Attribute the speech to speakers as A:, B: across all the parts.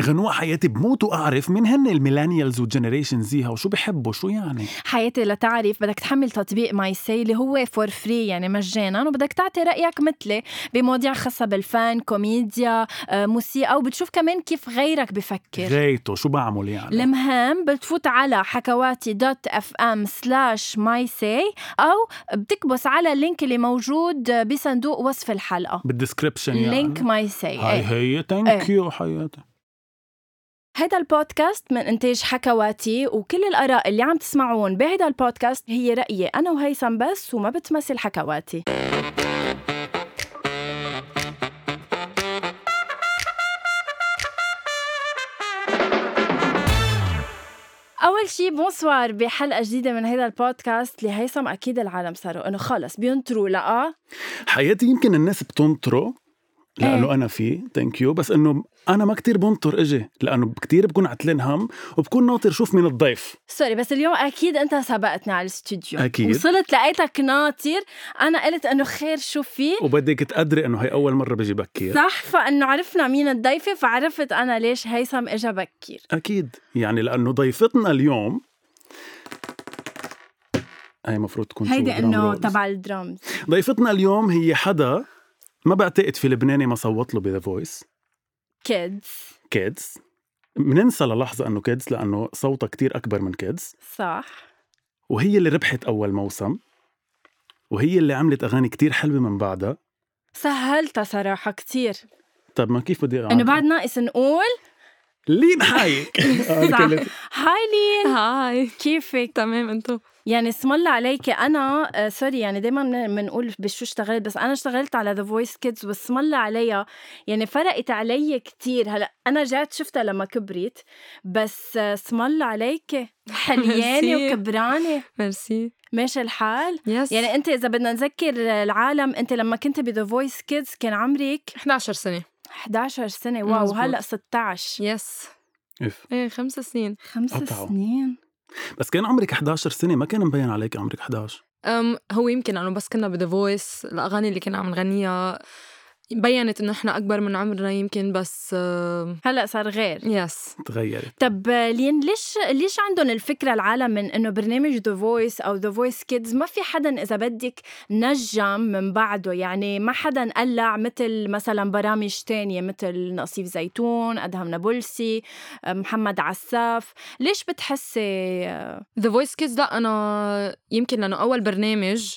A: غنوة حياتي بموت وأعرف مين هن الميلانيالز والجنريشن زيها وشو بحبوا شو يعني
B: حياتي لتعرف بدك تحمل تطبيق ماي سي اللي هو فور فري يعني مجانا وبدك تعطي رايك مثلي بمواضيع خاصه بالفن كوميديا آه، موسيقى وبتشوف كمان كيف غيرك بفكر
A: غايته شو بعمل يعني
B: المهم بتفوت على حكواتي دوت اف ام سلاش ماي سي او بتكبس على اللينك اللي موجود بصندوق وصف الحلقه
A: بالدسكربشن يعني
B: لينك إيه. ماي سي
A: هاي هي ثانك يو حياتي
B: هذا البودكاست من إنتاج حكواتي وكل الآراء اللي عم تسمعون بهذا البودكاست هي رأيي أنا وهيثم بس وما بتمثل حكواتي أول شي بونسوار بحلقة جديدة من هذا البودكاست اللي هيثم أكيد العالم صاروا إنه خلص بينطروا لقاه
A: حياتي يمكن الناس بتنطره
B: إيه.
A: لانه انا فيه ثانك يو بس انه انا ما كتير بنطر اجي لانه كتير بكون عتلان هم وبكون ناطر شوف من الضيف
B: سوري بس اليوم اكيد انت سبقتني على الاستوديو
A: أكيد.
B: وصلت لقيتك ناطر انا قلت انه خير شو في
A: وبدك تقدري انه هي اول مره بجي بكير
B: صح فانه عرفنا مين الضيفه فعرفت انا ليش هيثم اجا بكير
A: اكيد يعني لانه ضيفتنا اليوم هي المفروض تكون
B: هيدي
A: شو drum
B: انه
A: rolls.
B: تبع الدرامز
A: ضيفتنا اليوم هي حدا ما بعتقد في لبناني ما صوت له بذا فويس
B: كيدز
A: كيدز بننسى للحظه انه كيدز لانه صوتها كتير اكبر من كيدز
B: صح
A: وهي اللي ربحت اول موسم وهي اللي عملت اغاني كتير حلوه من بعدها
B: سهلتها صراحه كثير
A: طب ما كيف بدي
B: انه بعد ناقص نقول
A: لين حايك
B: صح. هاي لين
C: هاي
B: كيفك
C: تمام انتو
B: يعني اسم الله عليكي انا آه، سوري يعني دائما بنقول بشو اشتغلت بس انا اشتغلت على ذا فويس كيدز واسم الله عليها يعني فرقت علي كتير هلا انا رجعت شفتها لما كبرت بس آه، اسم الله عليك حليانه
C: ميرسي.
B: وكبرانه
C: ميرسي
B: ماشي الحال
C: يس
B: يعني انت اذا بدنا نذكر العالم انت لما كنت بذا فويس كيدز كان عمرك
C: 11 سنه
B: 11 سنه واو
C: مزبوط.
B: هلا 16
C: يس
A: إف.
C: ايه خمس سنين
B: خمس
A: قطعوا.
B: سنين
A: بس كان عمرك 11 سنه ما كان مبين عليك عمرك 11
C: أم هو يمكن انه بس كنا بذا فويس الاغاني اللي كنا عم نغنيها بينت انه احنا اكبر من عمرنا يمكن بس آم،
B: هلا صار غير
C: يس
A: تغيرت
B: طب لين ليش ليش عندهم الفكره العالم من انه برنامج ذا فويس او ذا فويس كيدز ما في حدا اذا بدك نجم من بعده يعني ما حدا قلع مثل مثلا برامج تانية مثل نصيف زيتون ادهم نابلسي محمد عساف ليش بتحسي آه،
C: ذا فويس كيدز لا انا يمكن لانه اول برنامج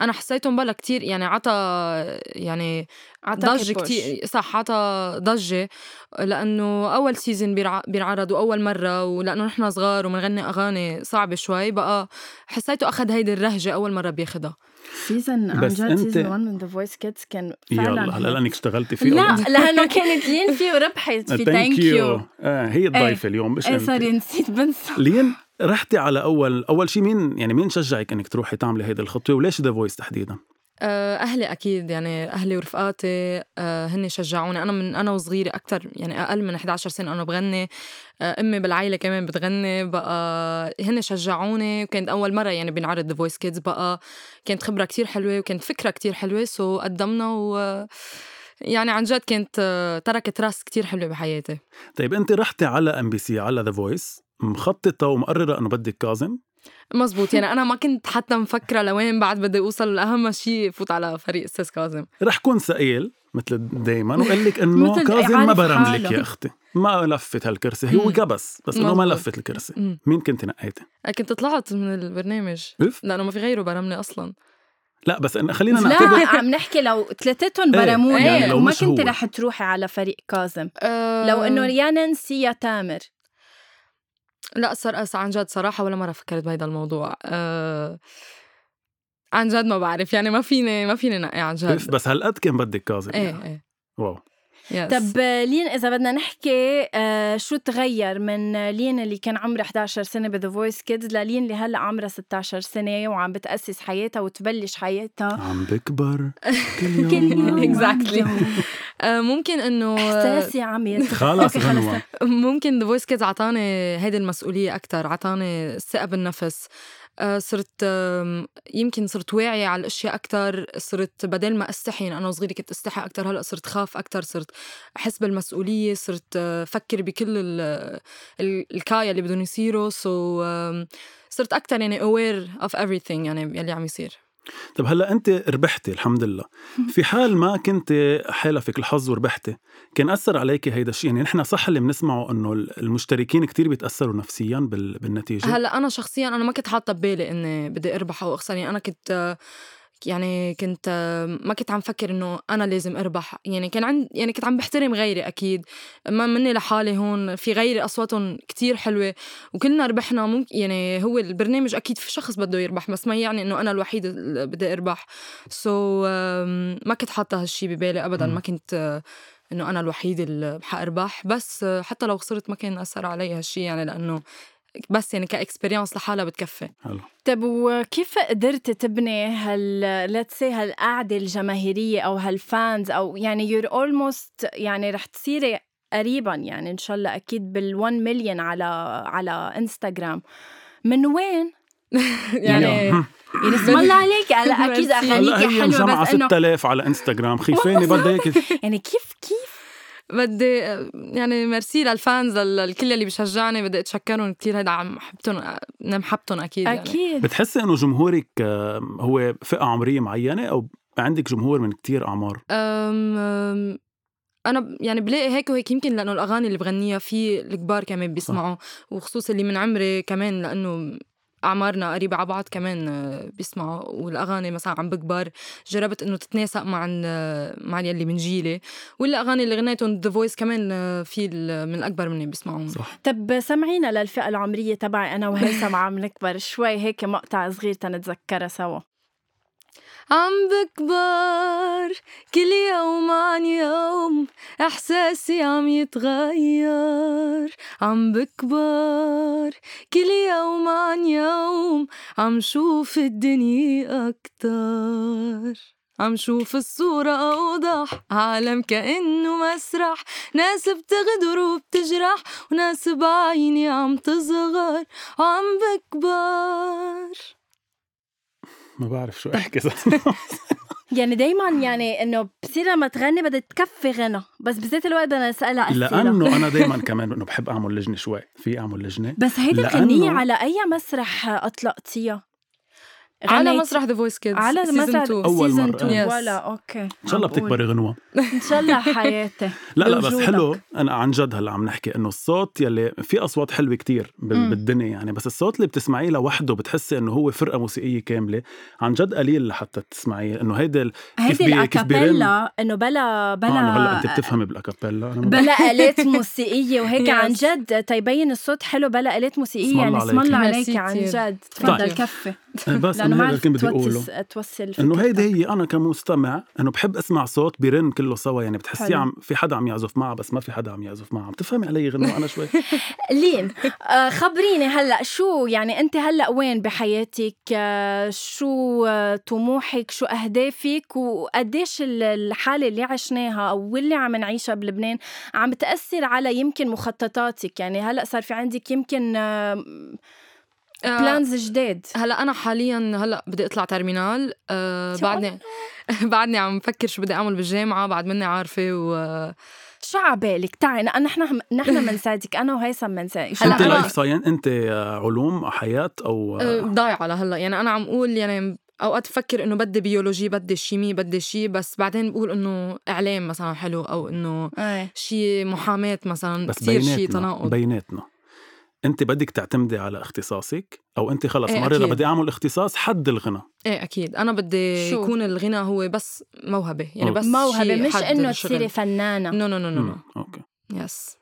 C: انا حسيته مبلا كتير يعني عطى يعني
B: عطاكي
C: ضجة
B: push؟
C: كتير صح عطى ضجة لأنه أول سيزن بيرع... بينعرض وأول مرة ولأنه نحن صغار وبنغني أغاني صعبة شوي بقى حسيته أخذ هيدي الرهجة أول مرة بياخدها
B: سيزن عن
A: بس
B: جد
A: أنت-
B: سيزن 1 من ذا فويس كيدز كان فعلا
A: يلا هلا لانك اشتغلتي فيه Oh,
B: لا لانه كانت لين فيه وربحت فيه ثانك يو
A: آه هي الضيفه اليوم مش
B: ايه
A: أنت.
B: سوري نسيت بنسى
A: لين رحتي على اول اول شيء مين يعني مين شجعك انك تروحي تعملي هيدي الخطوه وليش ذا فويس تحديدا
C: آه، أهلي أكيد يعني أهلي ورفقاتي آه، هن شجعوني أنا من أنا وصغيرة أكثر يعني أقل من 11 سنة أنا بغني آه، أمي بالعائلة كمان بتغني بقى هن شجعوني وكانت أول مرة يعني بينعرض ذا فويس كيدز بقى كانت خبرة كتير حلوة وكانت فكرة كتير حلوة سو قدمنا و يعني عن جد كانت آه، تركت راس كتير حلوة بحياتي
A: طيب انت رحتي على ام بي سي على ذا فويس مخططه ومقرره انه بدك كاظم
C: مزبوط يعني أنا ما كنت حتى مفكرة لوين بعد بدي أوصل أهم شيء فوت على فريق أستاذ كاظم
A: رح كون سئيل مثل دايما وقال لك انه
B: مثل
A: كاظم
B: عارف
A: ما برم لك
B: حاله.
A: يا اختي ما لفت هالكرسي هو
C: مم.
A: كبس بس انه ما
C: مزبوط.
A: لفت الكرسي
C: مم. آه،
A: مين كنت نقيتي؟
C: كنت طلعت من البرنامج
A: اف
C: لانه ما في غيره برمني اصلا
A: لا بس إن- خلينا نعتبر
B: لا عم نحكي لو ثلاثتهم
A: إيه،
B: برموني
C: يعني
B: يعني
A: لو
B: وما
A: مش
B: كنت
A: هو.
B: رح تروحي على فريق كاظم
C: أه
B: لو انه يا نانسي يا تامر
C: لا صار عن جد صراحه ولا مره فكرت بهذا الموضوع أه عن جد ما بعرف يعني ما فيني ما فيني نقي عن
A: بس-
C: جد
A: بس هالقد كان بدك كاظم
C: ايه
B: إيه.
C: ايه
A: واو
C: يس.
B: طب لين اذا بدنا نحكي آه، شو تغير من لين اللي كان عمرها 11 سنه بذا فويس كيدز للين اللي هلا عمرها 16 سنه وعم بتاسس حياتها وتبلش حياتها
A: عم بكبر كل
B: كل
A: يوم
B: يوم
C: Exactly.
B: عم بيوم.
C: آه، ممكن انه
B: احساسي عم يتخ-
A: خلص
B: أوكي، خلص.
A: غنوة
C: ممكن ذا فويس كيدز عطاني هيدي المسؤوليه اكثر عطاني الثقه بالنفس آه، صرت آم، يمكن صرت واعية على الأشياء أكتر صرت بدل ما أستحي أنا وصغيرة كنت أستحي أكتر هلأ صرت خاف أكتر صرت أحس بالمسؤولية صرت آه، فكر بكل ال- ال- الكايا اللي بدهم يصيروا سو صرت أكتر يعني aware of everything يعني يلي عم يصير
A: طب هلا انت ربحتي الحمد لله في حال ما كنت حالفك الحظ وربحتي كان اثر عليك هيدا الشيء يعني نحن صح اللي بنسمعه انه المشتركين كتير بيتاثروا نفسيا بال... بالنتيجه
C: هلا انا شخصيا انا ما كنت حاطه ببالي اني بدي اربح او اخسر يعني انا كنت آه، يعني كنت آه، ما كنت عم فكر انه انا لازم اربح يعني كان عند يعني كنت عم بحترم غيري اكيد ما مني لحالي هون في غيري اصواتهم كتير حلوه وكلنا ربحنا ممكن يعني هو البرنامج اكيد في شخص بده يربح بس ما يعني انه انا الوحيده اللي بدي اربح سو so, ما كنت حاطه هالشي ببالي ابدا
A: مم.
C: ما كنت آه، انه انا الوحيده اللي حاربح بس آه، حتى لو خسرت ما كان اثر علي هالشي يعني لانه بس يعني كاكسبيرينس لحالها بتكفي
A: حلو
B: طب طيب، وكيف قدرت تبني هال let's say هالقعدة الجماهيرية أو هالفانز أو يعني you're almost يعني رح تصيري قريبا يعني إن شاء الله أكيد بال1 مليون على على انستغرام من وين؟
C: يعني
A: يلا.
B: يعني اسم الله عليك هلا اكيد
C: ميرسي.
A: هلا
B: اغانيك
A: هي
B: حلوه
A: مجمعة
B: بس انه
A: 6000 على انستغرام خيفاني بدها هيك
B: يعني كيف كيف
C: بدي يعني ميرسي للفانز للكل اللي بشجعني بدي اتشكرهم كثير هيدا عم حبتهم أنا محبتهم اكيد يعني
B: اكيد
A: بتحسي انه جمهورك آه، هو فئه عمريه معينه او عندك جمهور من كتير اعمار
C: أم أم انا ب- يعني بلاقي هيك وهيك يمكن لانه الاغاني اللي بغنيها في الكبار كمان بيسمعوا وخصوصا اللي من عمري كمان لانه اعمارنا قريبه على بعض كمان آه، بيسمعوا والاغاني مثلا عم بكبر جربت انه تتناسق مع ال- مع يلي من جيلي والاغاني اللي غنيتهم ذا فويس كمان آه، في ال- من الاكبر مني بيسمعون
A: صح
B: طب طيب، سمعينا للفئه العمريه تبعي انا وهيثم عم نكبر شوي هيك مقطع صغير تنتذكرها سوا
C: عم بكبر كل يوم عن يوم احساسي عم يتغير عم بكبر كل يوم عن يوم عم شوف الدنيا اكتر عم شوف الصورة أوضح عالم كأنه مسرح ناس بتغدر وبتجرح وناس بعيني عم تصغر عم بكبر
A: ما بعرف شو احكي
B: يعني دايما يعني انه بصير لما تغني بدها تكفي غنى بس بذات الوقت بدنا نسالها اسئله
A: لانه انا دائما كمان انه بحب اعمل لجنه شوي في اعمل لجنه
B: بس هيدي الغنية
A: لأنه-
B: على اي مسرح اطلقتيها؟
C: على
B: غنيتي-
C: مسرح ذا فويس كيدز
B: على مسرح
A: أول
B: season
A: مرة.
B: two.
C: Yes.
B: ولا اوكي
A: ان شاء الله بتكبري غنوه
B: ان شاء الله حياتي
A: لا لا بس
B: بوجودك.
A: حلو انا عن جد هلا عم نحكي انه الصوت يلي في اصوات حلوه كتير بال-
B: مم.
A: بالدنيا يعني بس الصوت اللي بتسمعيه لوحده بتحسي انه هو فرقه موسيقيه كامله عن جد قليل لحتى تسمعيه انه هيدا ال- كيف
B: هيدي
A: بي- كيف بيرن؟
B: الاكابيلا انه بلا
A: آه، إنه هلا انت
B: بلا
A: بتفهمي بالاكابيلا انا ما
B: بلا الات موسيقيه وهيك
C: Yes.
B: عن جد تيبين الصوت حلو بلا الات موسيقيه
A: اسم
B: يعني
A: الله
B: اسم
A: عليك.
B: الله
C: ميرسي
B: عليك عن
C: كتير.
B: جد تفضل
C: طيب.
B: كفي
A: بس
B: لانه
A: انه
B: ما
A: هذا اللي
B: عرفت
A: كنت بدي اقوله
B: توصل توصل
A: انه هيدي
B: فكرتك.
A: هي انا كمستمع انه بحب اسمع صوت بيرن كله سوا يعني بتحسيه
B: حلو.
A: عم في حدا عم يعزف معها بس ما في حدا عم يعزف معها عم تفهمي علي غنوه انا شوي
B: لين آه، خبريني هلا شو يعني انت هلا وين بحياتك آه، شو آه، طموحك شو اهدافك وقديش ال- الحاله اللي عشناها او واللي عم نعيشها بلبنان عم بتاثر على يمكن مخططاتك يعني هلا صار في عندك يمكن
C: آه،
B: بلانز جداد
C: هلا انا حاليا هلا بدي اطلع ترمينال أه
B: شو
C: بعدني بعدني عم بفكر شو بدي اعمل بالجامعه بعد مني عارفه و آه،
B: شو عبالك تعي أنا- نحن نحن منساعدك انا وهيثم بنساعدك
A: انت
C: أنا-
A: لايف ساين انت آه، علوم حياه او
C: آه، ضايعه لهلا يعني انا عم اقول يعني اوقات بفكر انه بدي بيولوجي بدي شيمي بدي شي بس بعدين بقول انه اعلام مثلا حلو او انه
B: ايه
C: شي محاماه مثلا
A: بس
C: كثير شي
A: بيناتنا
C: تناقض
A: بيناتنا انت بدك تعتمدي على اختصاصك او انت خلص
C: إيه،
A: مرة
C: أكيد.
A: بدي اعمل اختصاص حد الغنى
C: ايه اكيد انا بدي
B: شو؟
C: يكون الغنى هو بس موهبه يعني
A: أوكي.
C: بس شي
B: موهبه مش
C: حد
B: انه
C: الشغل.
B: تصيري فنانه
C: نو نو نو نو
A: مم، اوكي
C: يس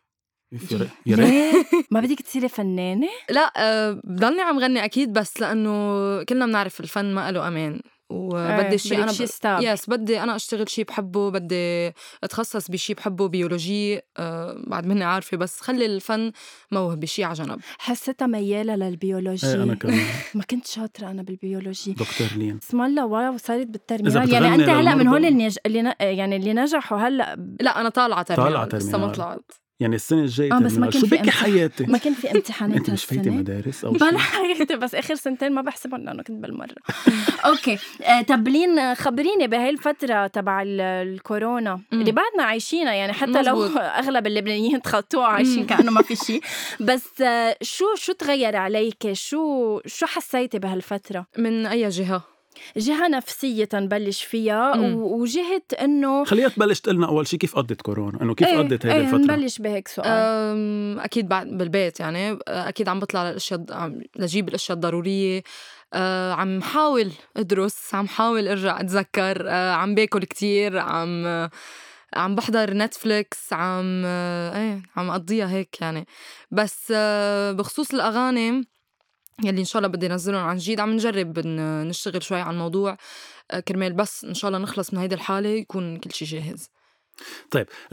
A: يا ريت- يا ريت
B: ليه؟ ما بدك تصيري فنانه
C: لا آه، بضلني عم غني اكيد بس لانه كلنا بنعرف الفن ما له امان وبدي شيء انا
B: بدك شي ستاب
C: يس بدي انا اشتغل شيء بحبه بدي اتخصص بشيء بحبه بيولوجي آه بعد مني عارفه بس خلي الفن موهبه شيء على جنب
B: حستها ميالة للبيولوجي
A: ايه انا كمان
B: ما كنت شاطرة أنا بالبيولوجي
A: دكتور لين
B: اسم الله واو صارت
A: إذا
B: بالترمينال
A: بتغني
B: يعني أنت هلا من
A: للمرضى.
B: هول اللي, نج... اللي ن... يعني اللي نجحوا هلا
C: لا انا طالعه ترمينال
A: طالعة
C: لسه ما
A: ترمينال.
C: طلعت
A: يعني السنه الجايه
B: آه، بس ما
A: terminal.
B: كان
A: شو
B: في
A: بك
B: أمتحان.
A: حياتي
B: ما كان في امتحانات
A: انت مش فايته
B: هالسنة
A: مدارس او
B: بلا
A: شيء
B: حياتي بس اخر سنتين ما بحسبهم لانه كنت بالمره اوكي آه، طب لين آه، خبريني بهاي الفتره تبع ال- الكورونا
C: مم.
B: اللي بعدنا عايشينها يعني حتى لو
C: مزبوط.
B: اغلب اللبنانيين تخطوها عايشين
C: مم.
B: كانه ما في شيء بس آه، شو شو تغير عليك شو شو حسيتي بهالفتره
C: من اي جهه
B: جهه نفسيه تنبلش فيها
C: مم.
B: و- وجهه انه
A: خليها تبلش تقلنا اول شيء كيف قضت كورونا انه كيف
B: إيه،
A: قضت هيدي
B: إيه،
A: الفتره
B: نبلش بهيك سؤال
C: أم، اكيد بعد بالبيت يعني اكيد عم بطلع للاشياء الض- عم- لجيب الاشياء الضروريه أه، عم حاول ادرس عم حاول ارجع اتذكر أه، عم باكل كتير عم عم بحضر نتفليكس عم أه، ايه عم اقضيها هيك يعني بس أه، بخصوص الاغاني يلي ان شاء الله بدي نزلهم عن جديد عم نجرب إن- نشتغل شوي على الموضوع أه، كرمال بس ان شاء الله نخلص من هيدي الحاله يكون كل شيء جاهز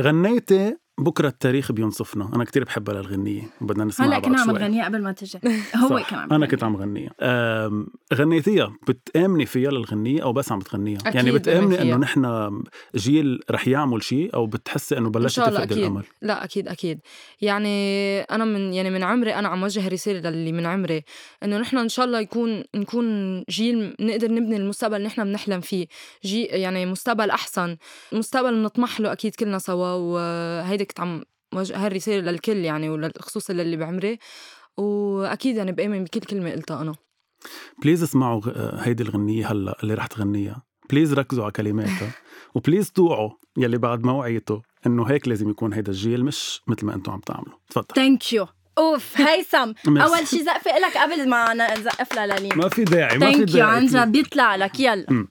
A: غنيتي بكره التاريخ بينصفنا انا كتير بحبها للغنيه بدنا نسمعها
B: هلا كنا
A: بعد
B: عم
A: شوي
B: نغنيها قبل ما ترجع هو
A: صح.
B: كان عم
A: انا
B: يغنيها.
A: كنت عم غنيها أم، غنيتيها بتآمني فيها للغنية او بس عم بتغنيها
C: أكيد
A: يعني
C: بآمن
A: بتآمني
C: فيها.
A: انه نحن جيل رح يعمل شيء او بتحسي انه بلشت
C: شاء الله
A: تفقد
C: أكيد.
A: الامل
C: لا اكيد اكيد يعني انا من يعني من عمري انا عم وجه رساله للي من عمري انه نحن ان شاء الله يكون نكون جيل نقدر نبني المستقبل اللي نحن بنحلم فيه جي يعني مستقبل احسن مستقبل بنطمح له اكيد كلنا سوا وهيدي كنت عم وجه هالرساله للكل يعني وخصوصا للي بعمري واكيد يعني بامن بكل كلمه قلتها انا
A: بليز اسمعوا غ- هيدي الغنية هلا اللي رح تغنيها بليز ركزوا على كلماتها وبليز توعوا يلي بعد ما وعيتوا انه هيك لازم يكون هيدا الجيل مش مثل ما انتم عم تعملوا تفضل
B: ثانك يو اوف هيثم
A: ميرسي.
B: اول شيء زقفه لك قبل ما نزقف للين
A: ما في داعي ما في
B: ثانك يو
A: داعي
B: عن جد بيطلع لك يلا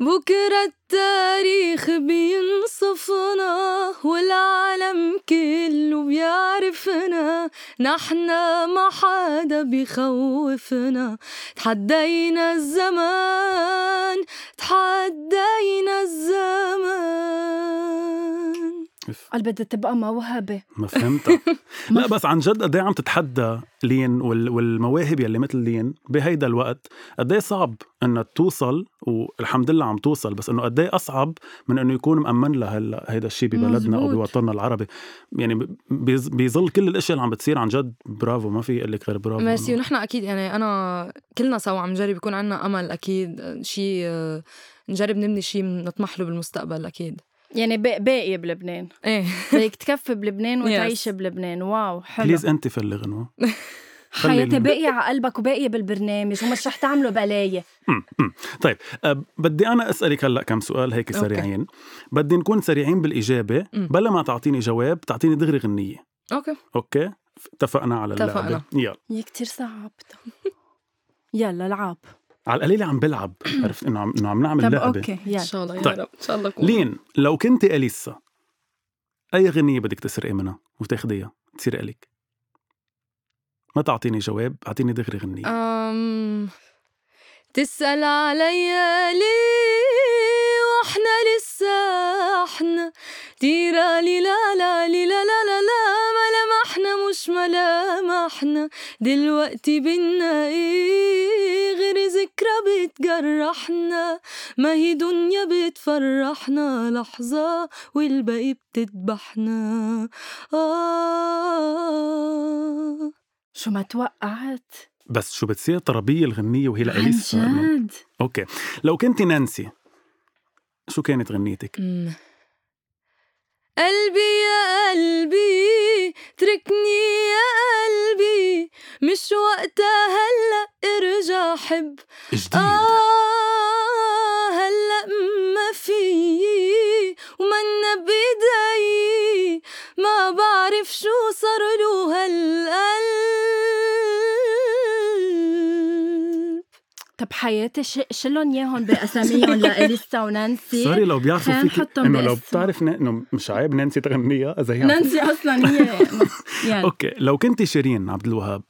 C: بكرة التاريخ بينصفنا والعالم كله بيعرفنا نحن ما حدا بيخوفنا تحدينا الزمان تحدينا الزمان
A: إف،
B: قال بدها تبقى موهبه
A: ما فهمتها لا بس عن جد قد إيه عم تتحدى لين وال- والمواهب يلي مثل لين بهيدا الوقت قد إيه صعب انها توصل والحمد لله عم توصل بس انه قد اصعب من انه يكون مأمن لها هلا هيدا الشيء ببلدنا او
C: مزبوط.
A: بوطننا العربي يعني ب- بيز- بيظل كل الاشياء اللي عم بتصير عن جد برافو ما في اقول لك غير برافو
C: ميرسي
A: إنه
C: ونحن اكيد يعني انا كلنا سوا عم نجرب يكون عنا امل اكيد شيء آه، نجرب نبني شيء نطمح له بالمستقبل اكيد
B: يعني ب- باقي بلبنان
C: ايه
B: بدك تكفي بلبنان
C: Yes.
B: وتعيشي بلبنان واو حلو
A: بليز انت فلي غنوه خلي
B: حياتي
A: ال-
B: باقية على قلبك وباقية بالبرنامج ومش رح تعملوا بلايا
A: أه، بدي انا اسالك هلا كم سؤال هيك
C: أوكي.
A: سريعين بدي نكون سريعين بالاجابه
C: مم.
A: بلا ما تعطيني جواب تعطيني دغري غنيه
C: اوكي
A: اوكي اتفقنا على اللعبه
C: اتفقنا.
A: يلا
B: يا كتير صعبتها يلا العب
A: على القليل عم بلعب عرفت انه عم انه عم نعمل
B: طب
A: لعبه
B: اوكي
C: ان
B: يلا
C: شاء الله يا
A: طيب.
C: رب ان شاء الله كون.
A: لين لو كنت اليسا اي غنيه بدك تسرقي منها وتاخديها تصير الك ما تعطيني جواب اعطيني دغري غنيه
B: آه.
C: أم... تسأل عليا ليه واحنا لسه احنا تيرا لي لا لا لي لا لا لا لا ملامحنا مش ملامحنا دلوقتي بينا ايه غير ذكرى بتجرحنا ما هي دنيا بتفرحنا لحظة والباقي بتذبحنا آه
B: شو ما توقعت
A: بس شو بتصير طربيه الغنيه وهي
B: عن
A: لاليسا إنه-
B: جد
A: اوكي لو كنت نانسي شو كانت غنيتك؟
C: مم. قلبي يا قلبي تركني يا قلبي مش وقتها هلا ارجع حب
A: جديد
C: آه هلا ما في ومنا بإيدي ما بعرف شو صار له هالقلب
B: طب حياتي ش- شلن ياهم باساميهم لاليسا ونانسي
A: سوري لو بيعرفوا
B: خلينا
A: فيك
B: نحطهم
A: انه لو
B: باسمه.
A: بتعرف ن- انه مش عيب نانسي تغنيها اذا هي عم
B: نانسي اصلا هي يعني
A: اوكي لو كنت شيرين عبد الوهاب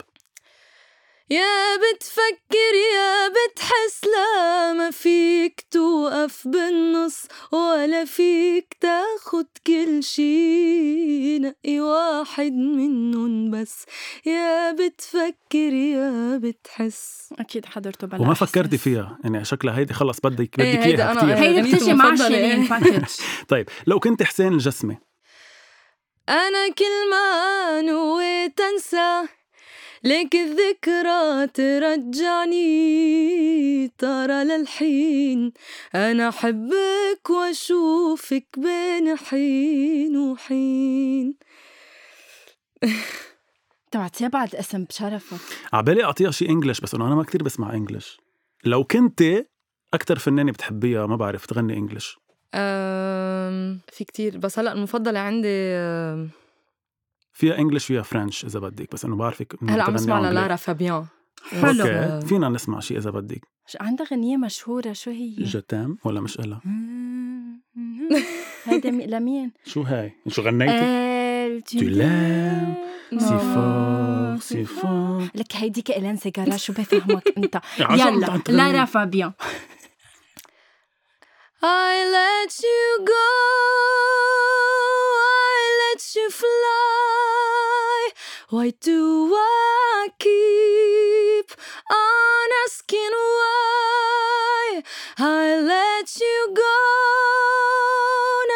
C: يا بتفكر يا بتحس لا ما فيك توقف بالنص ولا فيك تاخد كل شي نقي واحد منهم بس يا بتفكر يا بتحس
B: اكيد حضرته بلا
A: وما
B: إحساس.
A: فكرتي فيها يعني شكلها هيدي خلص بدك بدك
C: إيه، هيدا
A: اياها
C: أنا-
A: كثير
B: هي
C: أغنيته
B: بتجي مع
C: المفضلة،
B: شيرين
C: إيه.
B: باكج
A: طيب لو كنت حسين الجسمي
C: أنا كل ما نويت أنسى لك الذكرى ترجعني ترى للحين أنا أحبك وأشوفك بين حين وحين
B: تبعتيها بعد اسم بشرفك
A: عبالي اعطيها شيء انجلش بس انه انا ما كتير بسمع انجلش لو كنت اكثر فنانه بتحبيها ما بعرف تغني انجلش
C: أم، في كتير بس هلأ المفضلة عندي أم،
A: فيها انجلش فيها فرنش اذا بدك بس انه بعرفك إنه
C: هلا عم
A: بتغني
C: بسمع
A: أنجلي.
C: للارا فابيان
B: حلو.
A: اوكي فينا نسمع شيء اذا بدك
B: ش- عندها غنية مشهورة شو هي؟
A: جتام ولا مش إلا
B: هيدا مي- لمين؟ آه،
A: شو هاي شو غنيتي
B: Elle, tu
A: Tu l'aimes
B: l'aimes.
A: سي
C: آه.
A: فور سي فور
B: لك هيديك إلين سيجارة شو بفهمك انت يلا
A: عشان
B: لارا فابيان
C: I let you go. I let you fly. Why do I keep on asking why? I let you go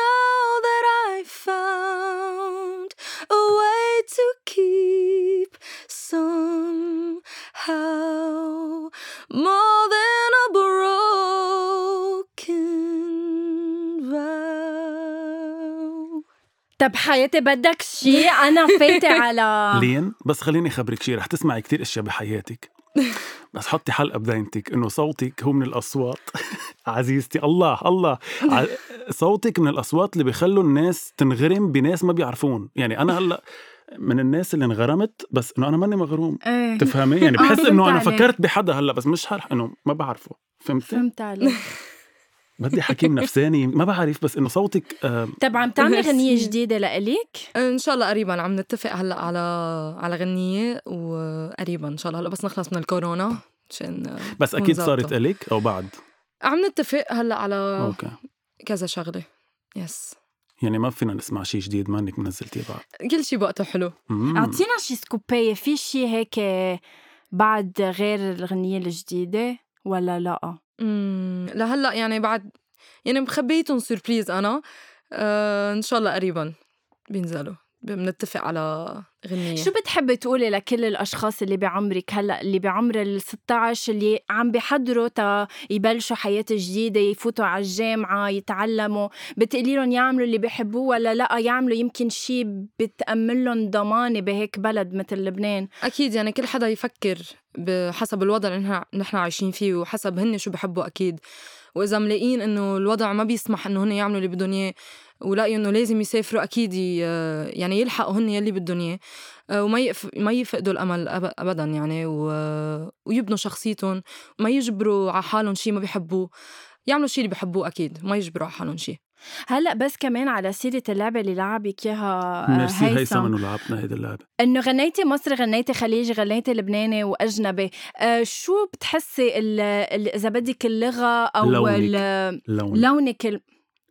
C: now that I found a way to keep somehow more than a broken vow.
B: طب حياتي بدك شي أنا فايتة على
A: لين بس خليني اخبرك شيء رح تسمعي كتير اشياء بحياتك بس حطي حلقه بدينتك انه صوتك هو من الاصوات عزيزتي الله الله ع- صوتك من الاصوات اللي بيخلوا الناس تنغرم بناس ما بيعرفون يعني انا هلا من الناس اللي انغرمت بس انه انا ماني مغروم
B: إيه،
A: تفهمي يعني
B: آه،
A: بحس انه انا
B: فهمت عليك.
A: فكرت بحدا هلا بس مش حرح انه ما بعرفه فهمتي
B: فهمت عليك
A: بدي حكيم نفساني ما بعرف بس انه صوتك آه،
B: طب عم تعملي
C: ميرسي.
B: غنية جديدة لإليك؟
C: ان شاء الله قريبا عم نتفق هلا على على غنيه وقريبا ان شاء الله هلا بس نخلص من الكورونا عشان
A: بس اكيد
C: منظبطة.
A: صارت الك او بعد
C: عم نتفق هلا
B: آه.
C: على
A: اوكي
C: كذا شغله يس
A: يعني ما فينا نسمع شيء جديد ما انك منزلتيه بعد
C: كل شيء بوقته حلو
A: مم.
B: اعطينا شي سكوبية في شي هيك بعد غير الغنية الجديدة ولا لا؟
C: امم لهلا يعني بعد يعني مخبيتهم سربريز انا آه ان شاء الله قريبا بينزلوا بنتفق على غنيه
B: شو بتحبي تقولي لكل الاشخاص اللي بعمرك هلا اللي بعمر ال 16 اللي عم بيحضروا تا يبلشوا حياة جديدة يفوتوا على الجامعة يتعلموا بتقولي لهم يعملوا اللي بيحبوه ولا لا يعملوا يمكن شي بتأمن لهم ضمانة بهيك بلد مثل لبنان
C: اكيد يعني كل حدا يفكر بحسب الوضع اللي نحن- نحن عايشين فيه وحسب هن شو بحبوا اكيد واذا ملاقيين انه الوضع ما بيسمح انه هن يعملوا اللي بدهم اياه ولاقيوا انه لازم يسافروا اكيد ي- يعني يلحقوا هن يلي بدهم اياه آه، وما يقف ما يفقدوا الامل أب- ابدا يعني و... ويبنوا شخصيتهم ما يجبروا على حالهم شيء ما بيحبوه يعملوا شيء اللي بحبوه اكيد ما يجبروا على حالهم شيء
B: هلا بس كمان على سيرة اللعبة اللي لعبك اياها آه،
A: ميرسي هيثم
B: هيثم.
A: انه لعبنا هيدي اللعبه
B: انه غنيتي مصري غنيتي خليجي غنيتي لبناني واجنبي أه شو بتحسي ال- ال- اذا بدك اللغه او
A: لونك.
B: ال-
A: لون
B: لونك ال-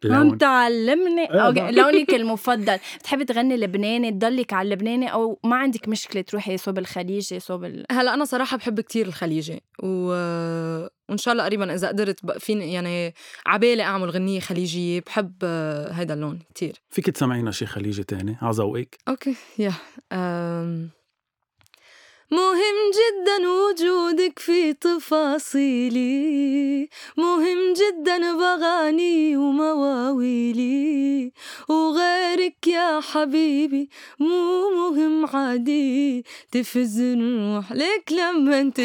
B: ما
A: لون
B: متعلمني
A: آه،
B: أوكي،
A: آه.
B: لونك المفضل بتحبي تغني لبناني تضلك على اللبناني او ما عندك مشكله تروحي صوب الخليجي صوب ال...
C: هلا انا صراحه بحب كتير الخليجي و... وان شاء الله قريبا اذا قدرت بق- فيني يعني عبالي اعمل غنيه خليجيه بحب آه، هيدا اللون كتير
A: فيك تسمعينا شي خليجي تاني على ذوقك
C: اوكي يا أم. مهم جدا وجودك في تفاصيلي مهم جدا بغاني ومواويلي وغيرك يا حبيبي مو مهم عادي تفز الروح لك لما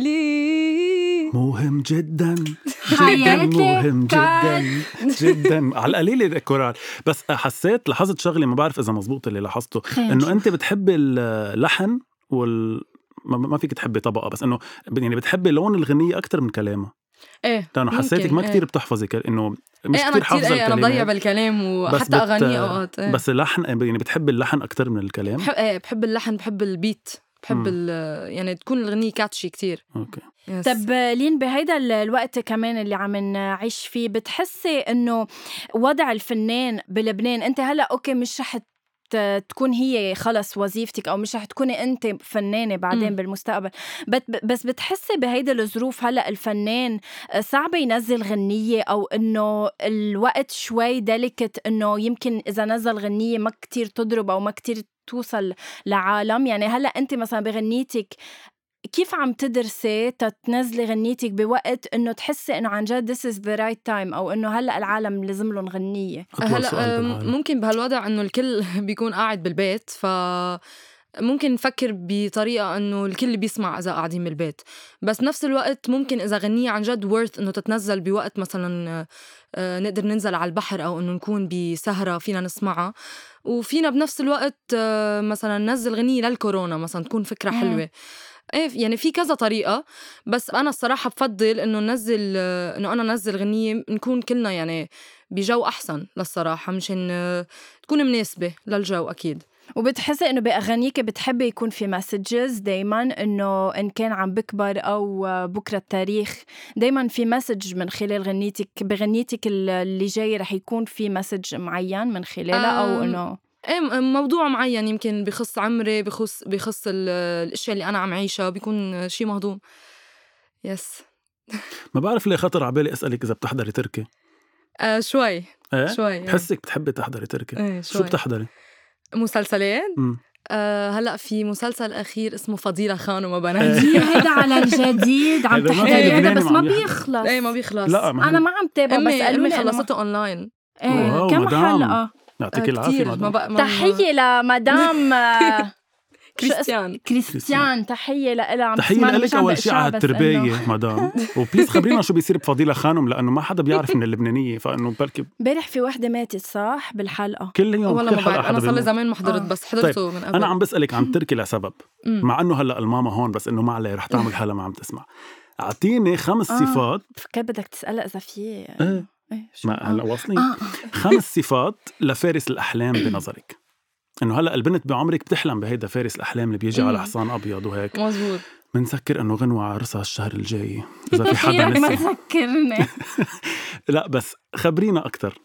C: تناديلي
A: مهم جدا جدا
B: حياتي
A: مهم جدا
B: كان.
A: جدا على القليل الكورال بس حسيت لاحظت شغله ما بعرف اذا مزبوط اللي لاحظته انه انت بتحبي اللحن وال ما- ما فيك تحبي طبقه بس انه يعني بتحبي لون الغنيه اكثر من كلامها
C: ايه
A: لانه
C: ممكن،
A: حسيتك ما
C: إيه.
A: كثير بتحفظي كل- انه مش
C: ايه انا
A: كثير
C: كثير
A: حافظه
C: ايه انا بضيع
A: الكلمات
C: بالكلام
A: بس
C: وحتى
A: بت-
C: اغاني اوقات إيه.
A: بس اللحن يعني بتحبي اللحن اكثر من الكلام
C: بحب ايه بحب إيه، اللحن بحب البيت
A: مم.
C: بحب ال- يعني تكون الغنية كاتشي كتير
A: اوكي
C: يس.
B: طب لين بهيدا ال- الوقت كمان اللي عم نعيش فيه بتحسي انه وضع الفنان بلبنان انت هلا اوكي مش رح ت- تكون هي خلص وظيفتك او مش رح تكوني انت فنانه بعدين
C: مم.
B: بالمستقبل بت- بس بتحسي بهيدا الظروف هلا الفنان صعب ينزل غنيه او انه الوقت شوي دلكت انه يمكن اذا نزل غنيه ما كتير تضرب او ما كتير توصل لعالم يعني هلا انت مثلا بغنيتك كيف عم تدرسي تتنزلي غنيتك بوقت انه تحسي انه عن جد this is the right time او انه هلا العالم لازم لهم غنيه
A: اطول
C: هلا آه،
A: سؤال
C: أم،
A: بالعالم
C: ممكن بهالوضع انه الكل بيكون قاعد بالبيت ف ممكن نفكر بطريقة انه الكل بيسمع اذا قاعدين بالبيت بس نفس الوقت ممكن اذا غنية عن جد worth انه تتنزل بوقت مثلا آه، آه، نقدر ننزل على البحر او انه نكون بسهرة فينا نسمعها وفينا بنفس الوقت آه، مثلا ننزل غنية للكورونا مثلا تكون فكرة
B: مم.
C: حلوة ايه يعني في كذا طريقة بس انا الصراحة بفضل انه ننزل آه، انه انا ننزل غنية نكون كلنا يعني بجو احسن للصراحة مشان آه، تكون مناسبة للجو اكيد
B: وبتحسي انه باغانيك بتحبي يكون في مسجز دائما انه ان كان عم بكبر او بكره التاريخ دائما في مسج من خلال غنيتك بغنيتك ال- اللي جاي رح يكون في مسج معين من خلالها او
C: أم،
B: انه
C: ايه م- موضوع معين يمكن بخص عمري بخص بخص ال- الاشياء اللي انا عم عيشها بيكون شيء مهضوم يس
A: ما بعرف ليه خطر على بالي اسالك اذا بتحضري تركي
C: آه شوي
A: ايه
C: شوي إيه.
A: بحسك بتحبي تحضري تركي
C: ايه شوي
A: شو بتحضري؟
C: مسلسلات
A: إيه، مم.
C: آه هلا في مسلسل اخير اسمه فضيلة خان وما بنات
A: إيه.
B: هيدا على الجديد
A: عم
B: عم
A: هيدا ما يعني.
B: تحكي
A: تحكي في
B: هيدا
A: لبناني
B: بس
A: بس ما
B: ما
A: عم يحضر.
B: بيخلص
C: ايه ما بيخلص
A: لا ما
B: انا
A: هي-
B: ما عم تابع بس
C: امي امي
B: قالوا
C: خلصته اونلاين
A: واو،
B: ايه كم
A: مدام.
B: حلقه
C: آه
A: يعطيك العافيه
C: كثير ما
A: مدام
C: بقى ما-
B: تحية لمدام آه، شو اسم-
C: كريستيان
B: كريستيان تحية لإلها عم
A: تحية
B: تسمعنا، مش
A: لك
B: عم
A: أول شيء
B: بقشعر،
A: على
B: بس إنه-
A: التربية مدام وبليز خبرينا شو بيصير بفضيلة خانم لأنه ما حدا بيعرف من اللبنانية فإنه بركي
B: امبارح في وحدة ماتت صح بالحلقة
A: كل يوم
C: والله
A: كل
C: ما
A: حلقة
C: بعرف
A: حدا
C: انا صار لي
A: بيموت.
C: زمان ما حضرت
B: آه.
C: بس حضرته من قبل
A: طيب. أنا عم بسألك عن تركي لسبب
C: مم.
A: مع إنه هلا الماما هون بس إنه ما عليه رح تعمل حالها ما عم تسمع أعطيني خمس
B: آه.
A: صفات
B: فكرت بدك تسألها إذا في
A: إيه
B: إيه، شو؟
A: ما هلا واصلين
B: آه.
A: خمس صفات لفارس الأحلام بنظرك إنه هلا البنت بعمرك بتحلم بهيدا فارس الأحلام اللي بيجي على
C: مم.
A: حصان أبيض وهيك
C: مزبوط
A: بنسكر إنه غنوة عرسها الشهر الجاي إذا في حدا
B: ما
A: نسي
B: تذكرني
A: لا بس خبرينا أكثر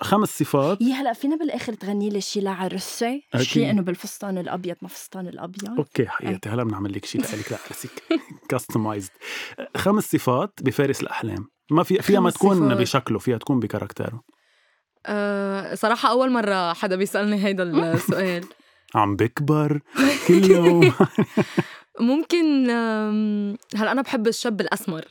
A: خمس صفات
B: يا هلا فينا بالاخر تغني لي شي لعرسي
A: أكيد.
B: شي انه بالفستان الابيض ما فستان الابيض
A: اوكي حياتي هلا بنعمل لك شيء لك لعرسك كاستمايزد أه، خمس صفات بفارس الاحلام ما في فيها ما
C: خمس
A: تكون
C: صفات.
A: بشكله فيها تكون بكاركتره
C: أه صراحة أول مرة حدا بيسألني هيدا السؤال
A: عم بكبر كل يوم
C: ممكن أم، هلا أنا بحب الشاب الأسمر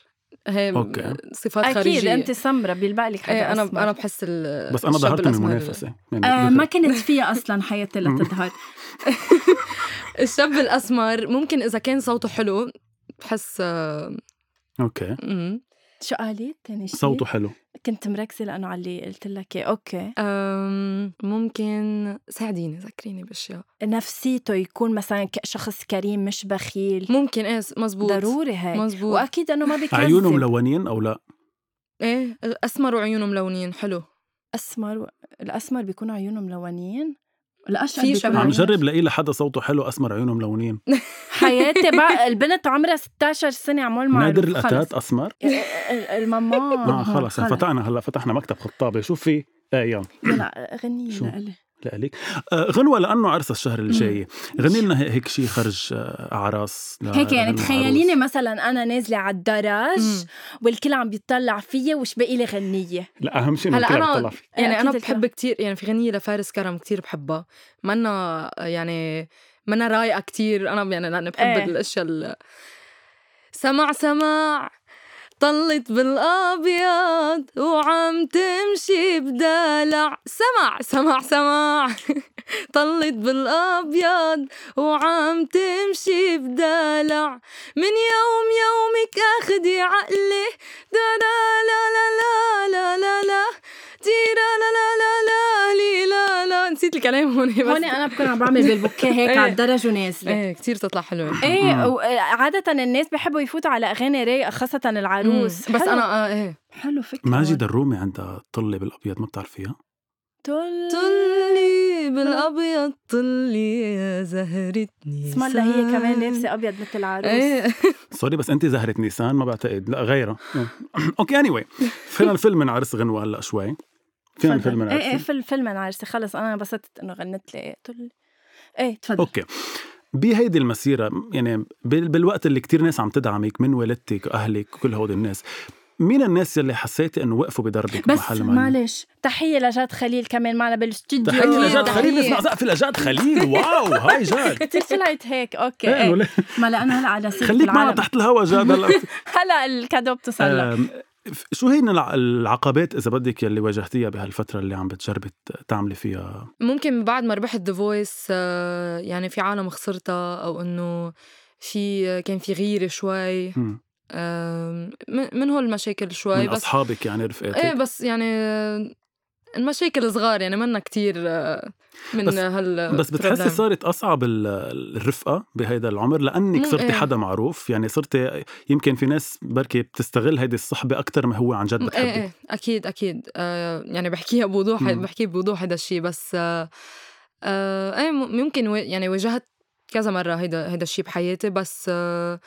C: هي
A: أوكي.
C: صفات خارجية
B: اكيد انت سمرة بيلبق لك
C: ايه
B: حدا
C: أنا
B: أسمر.
C: أنا بحس ال-
A: بس انا
C: الشاب
A: ظهرت من
C: الأسمر-
A: المنافسه
B: آه،
A: يعني
B: ما
A: ذكر.
B: كنت فيها اصلا حياتي لتظهر
C: الشاب الأسمر ممكن إذا كان صوته حلو بحس أه،
A: اوكي
C: مم.
B: شو قالي تاني شي؟
A: صوته حلو
B: كنت مركزة لأنه على اللي قلت لك إيه، أوكي
C: أم، ممكن ساعديني ذكريني بأشياء
B: نفسيته يكون مثلا ك- شخص كريم مش بخيل
C: ممكن إيه مزبوط
B: ضروري هيك
C: مزبوط
B: وأكيد إنه ما بيكذب
A: عيونه ملونين او لا
C: إيه أسمر وعيونه ملونين حلو
B: أسمر و- الأسمر بيكونوا عيونه ملونين الأشقر
C: في
B: بيكون
C: شبه.
A: عم
B: عيونه-
A: جرب لاقي لحدا صوته حلو اسمر عيونه ملونين
B: حياتي بقى البنت عمرها 16 سنة عمول معروف
A: نادر
B: خلص. آه،
A: الاتات اسمر
B: ال- ال- الماما
A: اه خلص فتحنا هلا فتحنا مكتب خطابه شو في ايه يلا
B: لا غنية
A: شو؟
B: لإلي
A: لأليك آه، غنوة لأنه عرسها الشهر الجاي غني لنا هيك شيء خرج آه، أعراس ل-
B: هيك يعني
A: لغنوة
B: تخيليني
A: عروس.
B: مثلا انا نازله على الدرج
C: مم.
B: والكل عم بيطلع فيا وش باقي لي غنيه
A: لا أهم شيء
C: هلا
A: هلا أنا
C: أنا يعني
B: أكيد
C: انا
B: الكلام.
C: بحب كتير يعني في غنيه لفارس كرم كتير بحبها منا يعني منا رايقه كتير انا يعني لاني بحب
B: إيه.
C: ايه. الاشياء ال- سمع سمع طلت بالابيض وعم تمشي بدلع سمع سمع سمع طلت بالابيض وعم تمشي بدلع من يوم يومك اخدي عقلي دا لا لا لا لا لا لا تيرا لا لا لا لا لي لا لا نسيت الكلام هون بس
B: هون انا بكون عم بعمل بالبوكيه هيك
C: إيه.
B: على الدرج ونازله
C: ايه كثير تطلع حلوه
A: مم.
B: ايه وعادة الناس بحبوا يفوتوا على اغاني رايقة خاصة العروس
C: مم. بس
B: حلو-
C: انا آه ايه
B: حلو فكرة
A: ماجد الرومي عندها طلة بالأبيض ما بتعرفيها
B: طل
C: طلي بالابيض طلي يا زهرة نيسان
B: اسم الله هي كمان لابسه ابيض مثل العروس
C: ايه
A: سوري بس انت زهره نيسان ما بعتقد لا غيرها
B: آه.
A: اوكي اني anyway. فينا الفيلم من عرس غنوه هلا شوي فينا الفيلم من
B: ايه ايه
A: عرس
B: فيلم فيلم عن عرسي خلص انا انبسطت انه غنت لي طل ايه تفضل
A: اوكي بهيدي المسيره يعني بال- بالوقت اللي كتير ناس عم تدعمك من والدتك واهلك كل هودي الناس مين الناس يلي حسيتي انه وقفوا بدربك
B: بس
A: بمحل معين؟
B: معلش تحيه لجاد خليل كمان معنا بالاستوديو
A: تحية لجاد
C: تحية.
A: خليل نسمع زقف لجاد خليل واو هاي جاد
B: كثير طلعت هيك اوكي
A: إيه،
B: إيه.
A: ولا-
B: ما لانه هلا على سيره
A: خليك معنا آه.
B: العالم
A: تحت الهوا جاد هلا
B: هلا الكادو بتصل لك
A: أم، ف- شو هي الع- العقبات اذا بدك يلي واجهتيها بهالفتره اللي عم بتجربي ت- تعملي فيها
C: ممكن بعد ما ربحت ذا فويس يعني في عالم خسرتها او انه في آه، كان في غيره شوي
A: مم.
C: آم، من من هول المشاكل شوي
A: من
C: طيب، بس
A: اصحابك يعني رفقاتك
C: ايه بس يعني المشاكل صغار يعني منا كتير من
A: بس-
C: هال
A: بس بتحسي
C: problem.
A: صارت اصعب ال- الرفقه بهيدا العمر لانك
C: مم،
A: صرتي
C: إيه.
A: حدا معروف يعني صرتي يمكن في ناس بركي بتستغل هيدي الصحبه اكثر ما هو عن
B: إيه،
A: جد
C: ايه
A: بتحبك
C: ايه اكيد اكيد آه يعني بحكيها بوضوح
A: مم.
C: بحكي بوضوح هذا الشيء بس آه آه ايه م- يمكن و- يعني واجهت كذا مرة هيدا هيدا الشيء بحياتي بس آه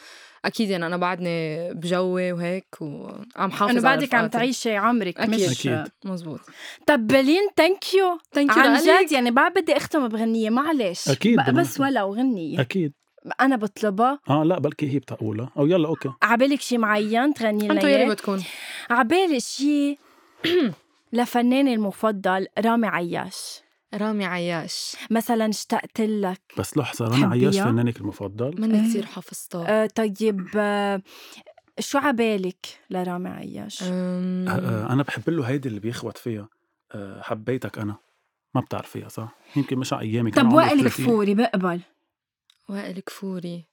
C: أكيد يعني أنا بعدني بجوي وهيك وعم حافظ
B: انه
C: على
B: بعدك عم
C: رفقاتي.
B: تعيشي عمرك
C: أكيد.
B: مش
A: أكيد.
C: مزبوط
B: طب بلين ثانك يو
C: ثانك
B: عن جد يعني ما بدي اختم بغنيه معلش
A: أكيد
B: ب-
A: بدنا
B: بس
A: نختم.
B: ولو غنيه
A: اكيد
B: انا بطلبها
A: اه لا بلكي هي بتقولها او يلا اوكي
B: عبالك شي معين تغني لنا
C: أنتو يلي
B: إياه؟
C: بتكون
B: عبالي شي لفناني المفضل رامي عياش
C: رامي عياش
B: مثلا اشتقت لك
A: بس لحظه رنا
B: بتحبيها؟
A: عياش فنانك المفضل
C: مني
B: إيه.
C: كثير حافظتها
B: آه طيب آه شو عبالك لرامي عياش؟
C: أم،
A: آه، آه، انا بحب له هيدي اللي بيخوت فيها آه، حبيتك انا ما بتعرفيها صح يمكن مش على ايامك أنا
B: طب
A: عمري
B: وائل
A: 30.
B: الكفوري بقبل
C: وائل كفوري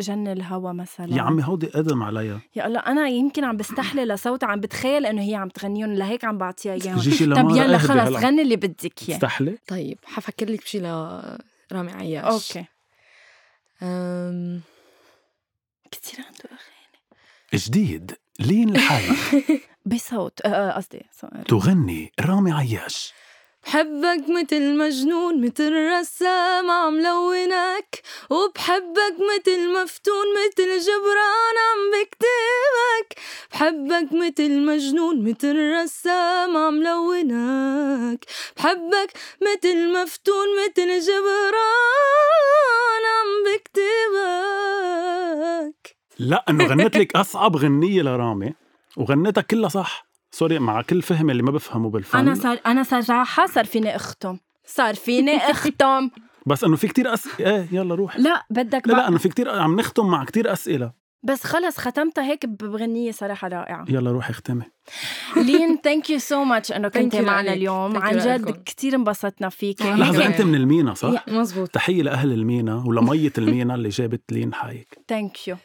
B: جن الهوى مثلا
A: يا عمي هودي قدم عليا
B: يا الله انا يمكن عم بستحلي لصوت عم بتخيل انه هي عم تغنيهم لهيك عم بعطيها اياهم
A: جيجي
B: طب
A: لما
B: يلا خلص غني اللي بدك اياه
A: تستحلي
C: طيب حفكر لك بشي لرامي عياش
B: اوكي
C: أم،
B: كثير عنده اغاني
A: جديد لين الحي
B: بصوت آه، آه، قصدي صوت.
A: تغني رامي عياش
C: بحبك متل مجنون متل رسام عم لونك وبحبك متل مفتون متل جبران عم بكتبك بحبك متل مجنون متل رسام عم لونك بحبك متل مفتون متل جبران عم بكتبك
A: لا انه غنت لك اصعب غنيه لرامي وغنتها كلها صح سوري مع كل فهم اللي ما بفهمه بالفن
B: انا صار انا صراحه صار فيني اختم صار فيني اختم
A: بس انه في كتير اسئله ايه يلا روح
B: لا بدك
A: لا لا
B: بقى.
A: انه في كتير عم نختم مع كتير اسئله
B: بس خلص ختمتها هيك بغنيه صراحه رائعه
A: يلا روحي اختمي
B: لين ثانك يو سو ماتش انه كنت
C: Thank you
B: معنا
C: لإلك.
B: اليوم
C: Thank you
B: عن
C: لإلكم.
B: جد كثير انبسطنا فيك
C: لحظة،
A: لحظه
C: كمان.
A: انت من المينا صح
C: مزبوط
B: طيب،
A: تحيه لاهل المينا ولميه المينا اللي جابت لين حايك
B: ثانك يو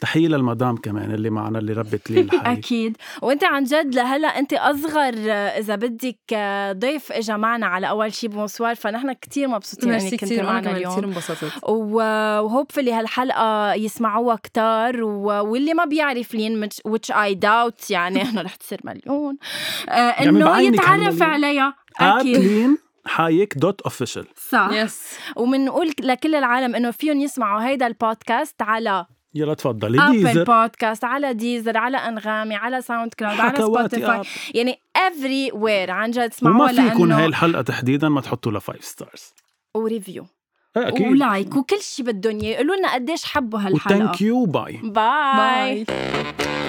A: تحيه للمدام كمان اللي معنا اللي ربت لين حايك
B: اكيد وانت عن جد لهلا انت اصغر آه، اذا بدك آه، ضيف اجى معنا على اول شي بونسوار فنحن كثير مبسوطين
C: ميرسي
B: انك كنت
C: كثير انا
B: يعني معنا
C: كمان كثير
B: اليوم
C: انبسطت
B: وهوبفلي هالحلقه يسمعوها كتار و- واللي ما بيعرف لين which I doubt يعني انه رح تصير مليون آه،
A: يعني
B: انه
A: بعينك
B: يتعرف
A: هالمليون.
B: عليها
A: آه،
B: اكيد
A: لين حايك دوت اوفيشال
B: صح
C: يس
B: وبنقول لكل العالم انه فيهم يسمعوا هيدا البودكاست على
A: يلا تفضلي
B: ابل
A: ديزر
B: بودكاست على ديزر على انغامي على ساوند كلاود على
A: حكواتي
B: سبوتيفاي
A: آب.
B: يعني افري وير عن جد اسمعوها
A: آه. وما في يكون هاي
B: لانه
A: الحلقه تحديدا ما تحطوا لها 5 ستارز
B: وريفيو
A: اكيد
B: ولايك وكل شيء بدهم اياه يقولوا لنا قديش حبوا هالحلقه
A: وثانك يو باي
B: باي
C: باي